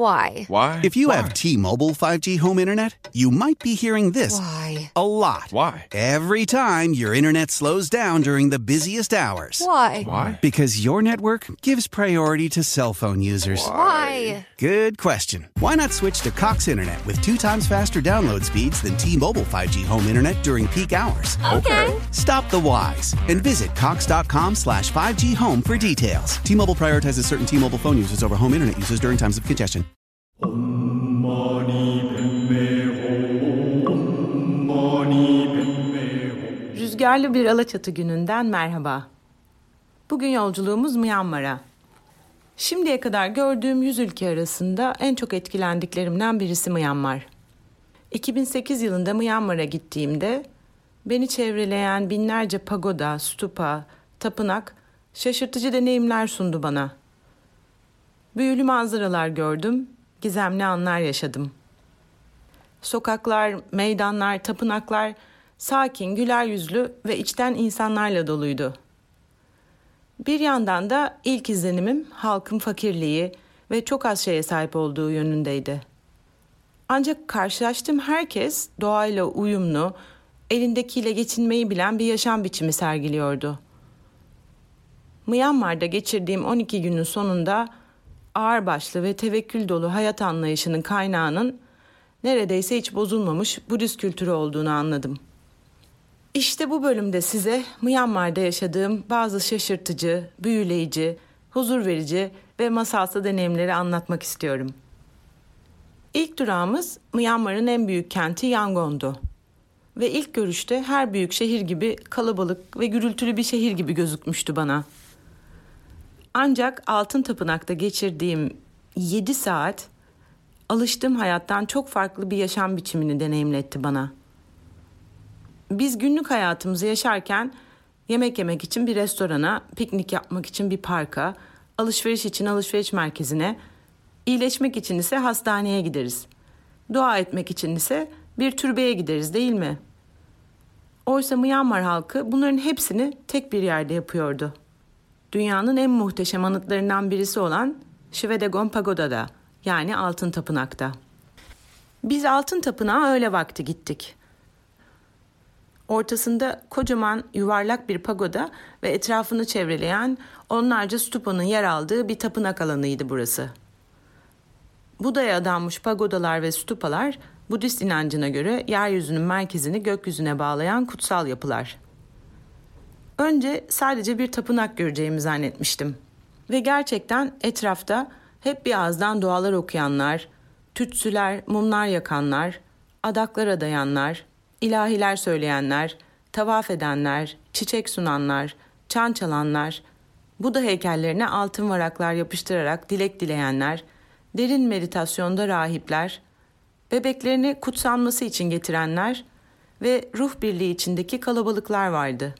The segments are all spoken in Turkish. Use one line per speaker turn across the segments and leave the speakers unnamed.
Why?
Why?
If you
Why?
have T-Mobile 5G home internet, you might be hearing this
Why?
a lot.
Why?
Every time your internet slows down during the busiest hours.
Why?
Why?
Because your network gives priority to cell phone users.
Why?
Good question. Why not switch to Cox Internet with two times faster download speeds than T-Mobile 5G home internet during peak hours?
Okay.
Stop the whys and visit cox.com slash 5G home for details. T-Mobile prioritizes certain T-Mobile phone users over home internet users during times of congestion.
Rüzgarlı bir Alaçatı gününden merhaba. Bugün yolculuğumuz Myanmar'a. Şimdiye kadar gördüğüm 100 ülke arasında en çok etkilendiklerimden birisi Myanmar. 2008 yılında Myanmar'a gittiğimde beni çevreleyen binlerce pagoda, stupa, tapınak şaşırtıcı deneyimler sundu bana. Büyülü manzaralar gördüm, gizemli anlar yaşadım. Sokaklar, meydanlar, tapınaklar sakin, güler yüzlü ve içten insanlarla doluydu. Bir yandan da ilk izlenimim halkın fakirliği ve çok az şeye sahip olduğu yönündeydi. Ancak karşılaştığım herkes doğayla uyumlu, elindekiyle geçinmeyi bilen bir yaşam biçimi sergiliyordu. Myanmar'da geçirdiğim 12 günün sonunda ağırbaşlı ve tevekkül dolu hayat anlayışının kaynağının neredeyse hiç bozulmamış Budist kültürü olduğunu anladım. İşte bu bölümde size Myanmar'da yaşadığım bazı şaşırtıcı, büyüleyici, huzur verici ve masalsı deneyimleri anlatmak istiyorum. İlk durağımız Myanmar'ın en büyük kenti Yangon'du. Ve ilk görüşte her büyük şehir gibi kalabalık ve gürültülü bir şehir gibi gözükmüştü bana. Ancak Altın Tapınak'ta geçirdiğim 7 saat alıştığım hayattan çok farklı bir yaşam biçimini deneyimletti bana. Biz günlük hayatımızı yaşarken yemek yemek için bir restorana, piknik yapmak için bir parka, alışveriş için alışveriş merkezine, iyileşmek için ise hastaneye gideriz. Dua etmek için ise bir türbeye gideriz değil mi? Oysa Myanmar halkı bunların hepsini tek bir yerde yapıyordu. Dünyanın en muhteşem anıtlarından birisi olan Şivedegon Pagoda'da yani Altın Tapınak'ta. Biz Altın Tapınağa öğle vakti gittik. Ortasında kocaman yuvarlak bir pagoda ve etrafını çevreleyen onlarca stupanın yer aldığı bir tapınak alanıydı burası. Buda'ya adanmış pagodalar ve stupalar Budist inancına göre yeryüzünün merkezini gökyüzüne bağlayan kutsal yapılar. Önce sadece bir tapınak göreceğimi zannetmiştim. Ve gerçekten etrafta hep bir ağızdan dualar okuyanlar, tütsüler, mumlar yakanlar, adaklar adayanlar, ilahiler söyleyenler, tavaf edenler, çiçek sunanlar, çan çalanlar, Buda heykellerine altın varaklar yapıştırarak dilek dileyenler, derin meditasyonda rahipler, bebeklerini kutsanması için getirenler ve ruh birliği içindeki kalabalıklar vardı.''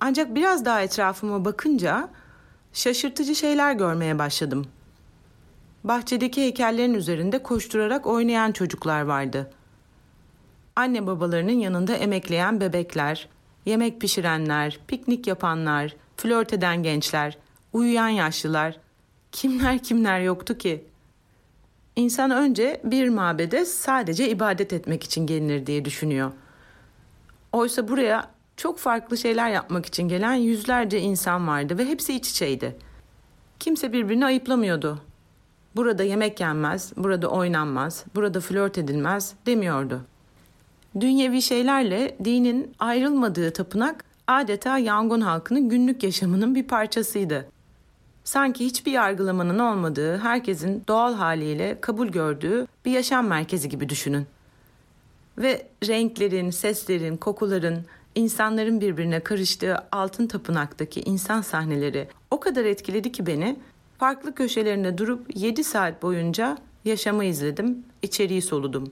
Ancak biraz daha etrafıma bakınca şaşırtıcı şeyler görmeye başladım. Bahçedeki heykellerin üzerinde koşturarak oynayan çocuklar vardı. Anne babalarının yanında emekleyen bebekler, yemek pişirenler, piknik yapanlar, flört eden gençler, uyuyan yaşlılar, kimler kimler yoktu ki? İnsan önce bir mabede sadece ibadet etmek için gelinir diye düşünüyor. Oysa buraya çok farklı şeyler yapmak için gelen yüzlerce insan vardı ve hepsi iç içeydi. Kimse birbirini ayıplamıyordu. Burada yemek yenmez, burada oynanmaz, burada flört edilmez demiyordu. Dünyevi şeylerle dinin ayrılmadığı tapınak adeta Yangon halkının günlük yaşamının bir parçasıydı. Sanki hiçbir yargılamanın olmadığı, herkesin doğal haliyle kabul gördüğü bir yaşam merkezi gibi düşünün ve renklerin, seslerin, kokuların, insanların birbirine karıştığı altın tapınaktaki insan sahneleri o kadar etkiledi ki beni. Farklı köşelerinde durup 7 saat boyunca yaşamı izledim, içeriği soludum.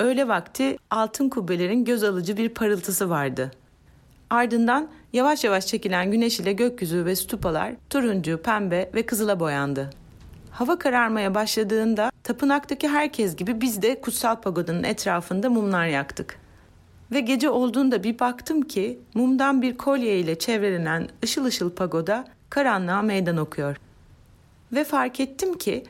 Öğle vakti altın kubbelerin göz alıcı bir parıltısı vardı. Ardından yavaş yavaş çekilen güneş ile gökyüzü ve stupalar turuncu, pembe ve kızıla boyandı. Hava kararmaya başladığında tapınaktaki herkes gibi biz de kutsal pagodanın etrafında mumlar yaktık. Ve gece olduğunda bir baktım ki mumdan bir kolye ile çevrelenen ışıl ışıl pagoda karanlığa meydan okuyor. Ve fark ettim ki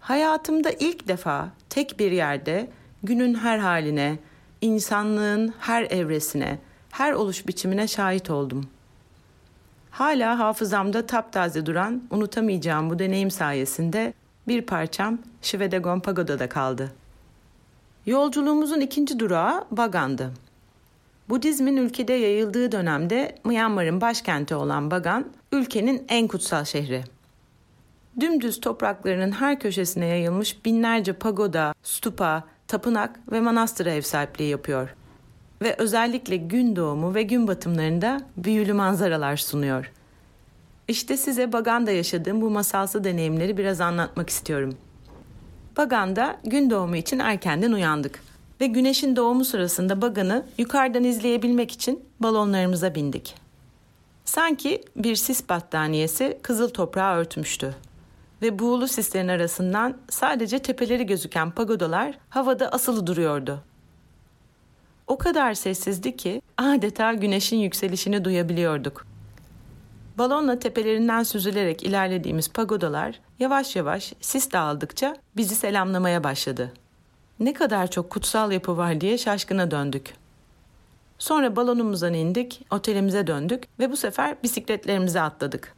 Hayatımda ilk defa tek bir yerde günün her haline, insanlığın her evresine, her oluş biçimine şahit oldum. Hala hafızamda taptaze duran, unutamayacağım bu deneyim sayesinde bir parçam Şivedegon Pagoda'da kaldı. Yolculuğumuzun ikinci durağı Bagan'dı. Budizmin ülkede yayıldığı dönemde Myanmar'ın başkenti olan Bagan, ülkenin en kutsal şehri. Dümdüz topraklarının her köşesine yayılmış binlerce pagoda, stupa, tapınak ve manastıra ev sahipliği yapıyor. Ve özellikle gün doğumu ve gün batımlarında büyülü manzaralar sunuyor. İşte size Bagan'da yaşadığım bu masalsı deneyimleri biraz anlatmak istiyorum. Bagan'da gün doğumu için erkenden uyandık ve güneşin doğumu sırasında Bagan'ı yukarıdan izleyebilmek için balonlarımıza bindik. Sanki bir sis battaniyesi kızıl toprağı örtmüştü. Ve buğulu sislerin arasından sadece tepeleri gözüken pagodalar havada asılı duruyordu. O kadar sessizdi ki adeta güneşin yükselişini duyabiliyorduk. Balonla tepelerinden süzülerek ilerlediğimiz pagodalar yavaş yavaş sis dağıldıkça bizi selamlamaya başladı. Ne kadar çok kutsal yapı var diye şaşkına döndük. Sonra balonumuzdan indik, otelimize döndük ve bu sefer bisikletlerimize atladık.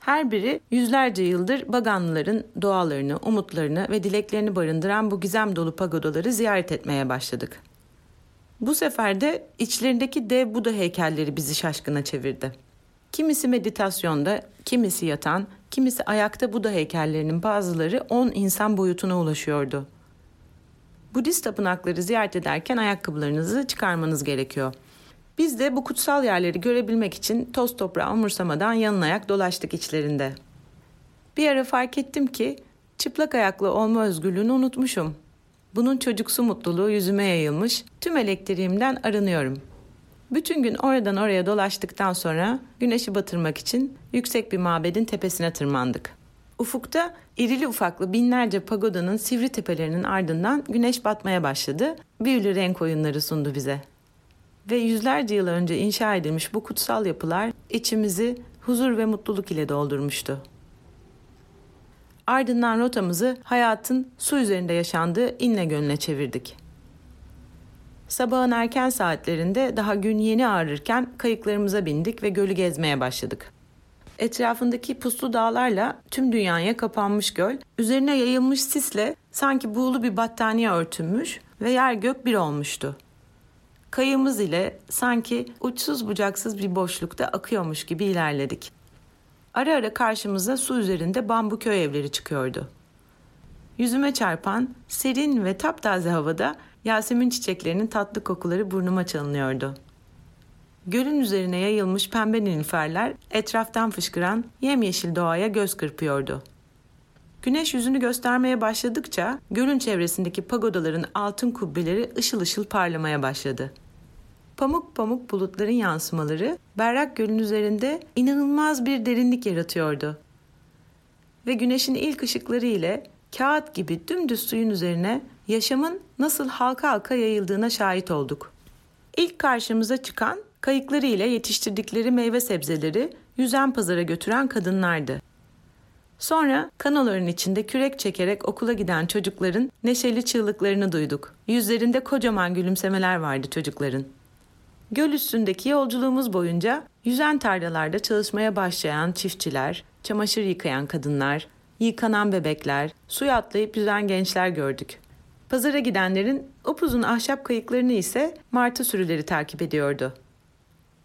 Her biri yüzlerce yıldır Baganlıların doğalarını, umutlarını ve dileklerini barındıran bu gizem dolu pagodaları ziyaret etmeye başladık. Bu sefer de içlerindeki dev Buda heykelleri bizi şaşkına çevirdi. Kimisi meditasyonda, kimisi yatan, kimisi ayakta Buda heykellerinin bazıları 10 insan boyutuna ulaşıyordu. Budist tapınakları ziyaret ederken ayakkabılarınızı çıkarmanız gerekiyor. Biz de bu kutsal yerleri görebilmek için toz toprağı umursamadan yanın ayak dolaştık içlerinde. Bir ara fark ettim ki çıplak ayaklı olma özgürlüğünü unutmuşum. Bunun çocuksu mutluluğu yüzüme yayılmış, tüm elektriğimden arınıyorum. Bütün gün oradan oraya dolaştıktan sonra güneşi batırmak için yüksek bir mabedin tepesine tırmandık. Ufukta irili ufaklı binlerce pagodanın sivri tepelerinin ardından güneş batmaya başladı. Büyülü renk oyunları sundu bize. Ve yüzlerce yıl önce inşa edilmiş bu kutsal yapılar içimizi huzur ve mutluluk ile doldurmuştu. Ardından rotamızı hayatın su üzerinde yaşandığı İnegöl'üne çevirdik. Sabahın erken saatlerinde daha gün yeni ağrırken kayıklarımıza bindik ve gölü gezmeye başladık. Etrafındaki puslu dağlarla tüm dünyaya kapanmış göl, üzerine yayılmış sisle sanki buğulu bir battaniye örtünmüş ve yer gök bir olmuştu. Kayığımız ile sanki uçsuz bucaksız bir boşlukta akıyormuş gibi ilerledik. Ara ara karşımıza su üzerinde bambu köy evleri çıkıyordu. Yüzüme çarpan serin ve taptaze havada Yasemin çiçeklerinin tatlı kokuları burnuma çalınıyordu. Gölün üzerine yayılmış pembe nilüferler etraftan fışkıran yemyeşil doğaya göz kırpıyordu. Güneş yüzünü göstermeye başladıkça gölün çevresindeki pagodaların altın kubbeleri ışıl ışıl parlamaya başladı. Pamuk pamuk bulutların yansımaları berrak gölün üzerinde inanılmaz bir derinlik yaratıyordu. Ve güneşin ilk ışıkları ile kağıt gibi dümdüz suyun üzerine yaşamın nasıl halka halka yayıldığına şahit olduk. İlk karşımıza çıkan kayıkları ile yetiştirdikleri meyve sebzeleri yüzen pazara götüren kadınlardı. Sonra kanoların içinde kürek çekerek okula giden çocukların neşeli çığlıklarını duyduk. Yüzlerinde kocaman gülümsemeler vardı çocukların. Göl üstündeki yolculuğumuz boyunca yüzen tarlalarda çalışmaya başlayan çiftçiler, çamaşır yıkayan kadınlar, yıkanan bebekler, suya atlayıp yüzen gençler gördük. Pazara gidenlerin upuzun ahşap kayıklarını ise martı sürüleri takip ediyordu.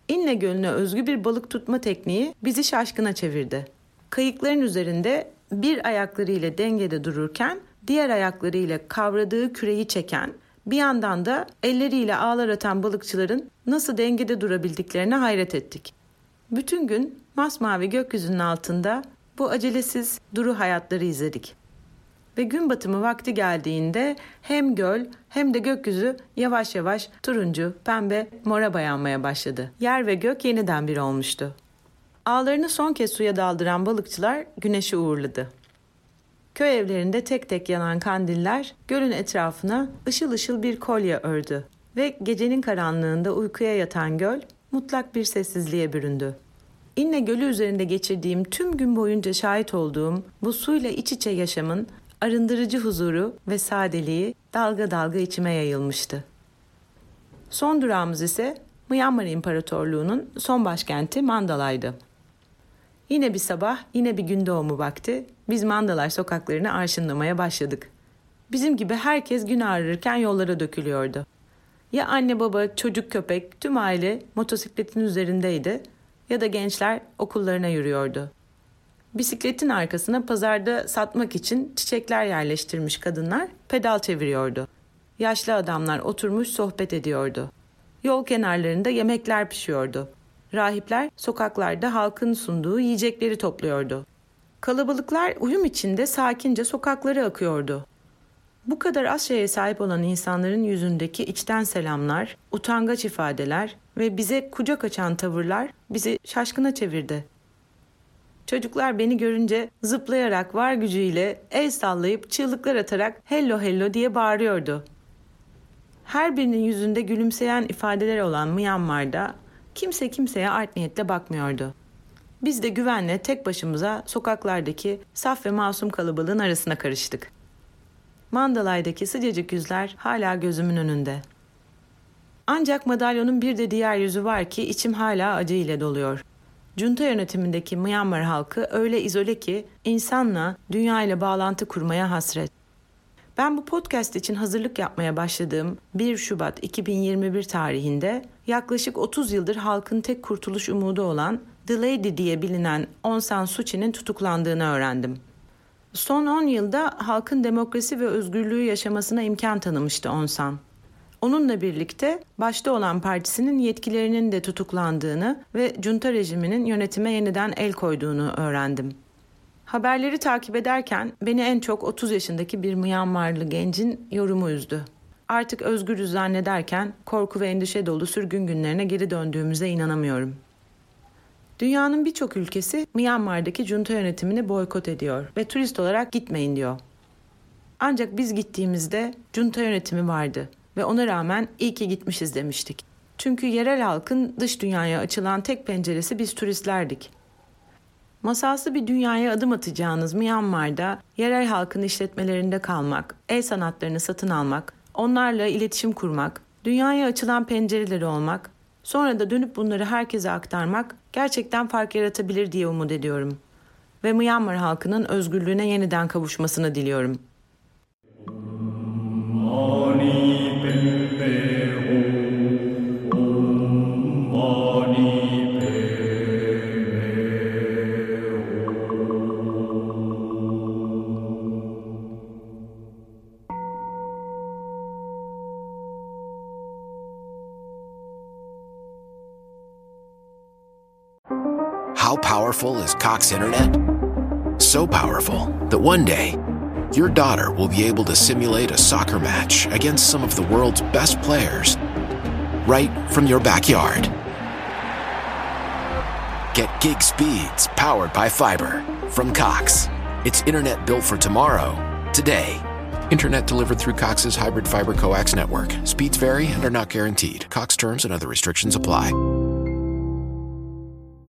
İnne Gölü'ne özgü bir balık tutma tekniği bizi şaşkına çevirdi. Kayıkların üzerinde bir ayaklarıyla dengede dururken diğer ayaklarıyla kavradığı küreyi çeken, bir yandan da elleriyle ağlar atan balıkçıların nasıl dengede durabildiklerine hayret ettik. Bütün gün masmavi gökyüzünün altında bu acelesiz duru hayatları izledik. Ve gün batımı vakti geldiğinde hem göl hem de gökyüzü yavaş yavaş turuncu, pembe, mora bayanmaya başladı. Yer ve gök yeniden bir olmuştu. Ağlarını son kez suya daldıran balıkçılar güneşi uğurladı. Köy evlerinde tek tek yanan kandiller gölün etrafına ışıl ışıl bir kolye ördü ve gecenin karanlığında uykuya yatan göl mutlak bir sessizliğe büründü. İnne Gölü üzerinde geçirdiğim tüm gün boyunca şahit olduğum bu suyla iç içe yaşamın arındırıcı huzuru ve sadeliği dalga dalga içime yayılmıştı. Son durağımız ise Myanmar İmparatorluğu'nun son başkenti Mandalay'dı. Yine bir sabah, yine bir gün doğumu vakti biz Mandalay sokaklarını arşınlamaya başladık. Bizim gibi herkes gün ağrırken yollara dökülüyordu. Ya anne baba, çocuk köpek, tüm aile motosikletin üzerindeydi ya da gençler okullarına yürüyordu. Bisikletin arkasına pazarda satmak için çiçekler yerleştirmiş kadınlar pedal çeviriyordu. Yaşlı adamlar oturmuş sohbet ediyordu. Yol kenarlarında yemekler pişiyordu. Rahipler sokaklarda halkın sunduğu yiyecekleri topluyordu. Kalabalıklar uyum içinde sakince sokaklara akıyordu. Bu kadar az şeye sahip olan insanların yüzündeki içten selamlar, utangaç ifadeler ve bize kucak açan tavırlar bizi şaşkına çevirdi. Çocuklar beni görünce zıplayarak var gücüyle el sallayıp çığlıklar atarak hello hello diye bağırıyordu. Her birinin yüzünde gülümseyen ifadeler olan Myanmar'da kimse kimseye art niyetle bakmıyordu. Biz de güvenle tek başımıza sokaklardaki saf ve masum kalabalığın arasına karıştık. Mandalay'daki sıcacık yüzler hala gözümün önünde. Ancak madalyonun bir de diğer yüzü var ki içim hala acı ile doluyor. Junta yönetimindeki Myanmar halkı öyle izole ki insanla, dünya ile bağlantı kurmaya hasret. Ben bu podcast için hazırlık yapmaya başladığım 1 Şubat 2021 tarihinde yaklaşık 30 yıldır halkın tek kurtuluş umudu olan The Lady diye bilinen Aung San Suu Kyi'nin tutuklandığını öğrendim. Son 10 yılda halkın demokrasi ve özgürlüğü yaşamasına imkan tanımıştı Aung San. Onunla birlikte başta olan partisinin yetkilerinin de tutuklandığını ve junta rejiminin yönetime yeniden el koyduğunu öğrendim. Haberleri takip ederken beni en çok 30 yaşındaki bir Myanmarlı gencin yorumu üzdü. Artık özgürüz zannederken korku ve endişe dolu sürgün günlerine geri döndüğümüze inanamıyorum. Dünyanın birçok ülkesi Myanmar'daki junta yönetimini boykot ediyor ve turist olarak gitmeyin diyor. Ancak biz gittiğimizde junta yönetimi vardı ve ona rağmen iyi ki gitmişiz demiştik. Çünkü yerel halkın dış dünyaya açılan tek penceresi biz turistlerdik. Masalsı bir dünyaya adım atacağınız Myanmar'da yerel halkın işletmelerinde kalmak, el sanatlarını satın almak, onlarla iletişim kurmak, dünyaya açılan pencereleri olmak, sonra da dönüp bunları herkese aktarmak gerçekten fark yaratabilir diye umut ediyorum. Ve Myanmar halkının özgürlüğüne yeniden kavuşmasını diliyorum.
How powerful is Cox Internet? So powerful that one day your daughter will be able to simulate a soccer match against some of the world's best players right from your backyard. Get gig speeds powered by fiber from Cox. It's internet built for tomorrow, today. Internet delivered through Cox's hybrid fiber coax network. Speeds vary and are not guaranteed. Cox terms and other restrictions apply.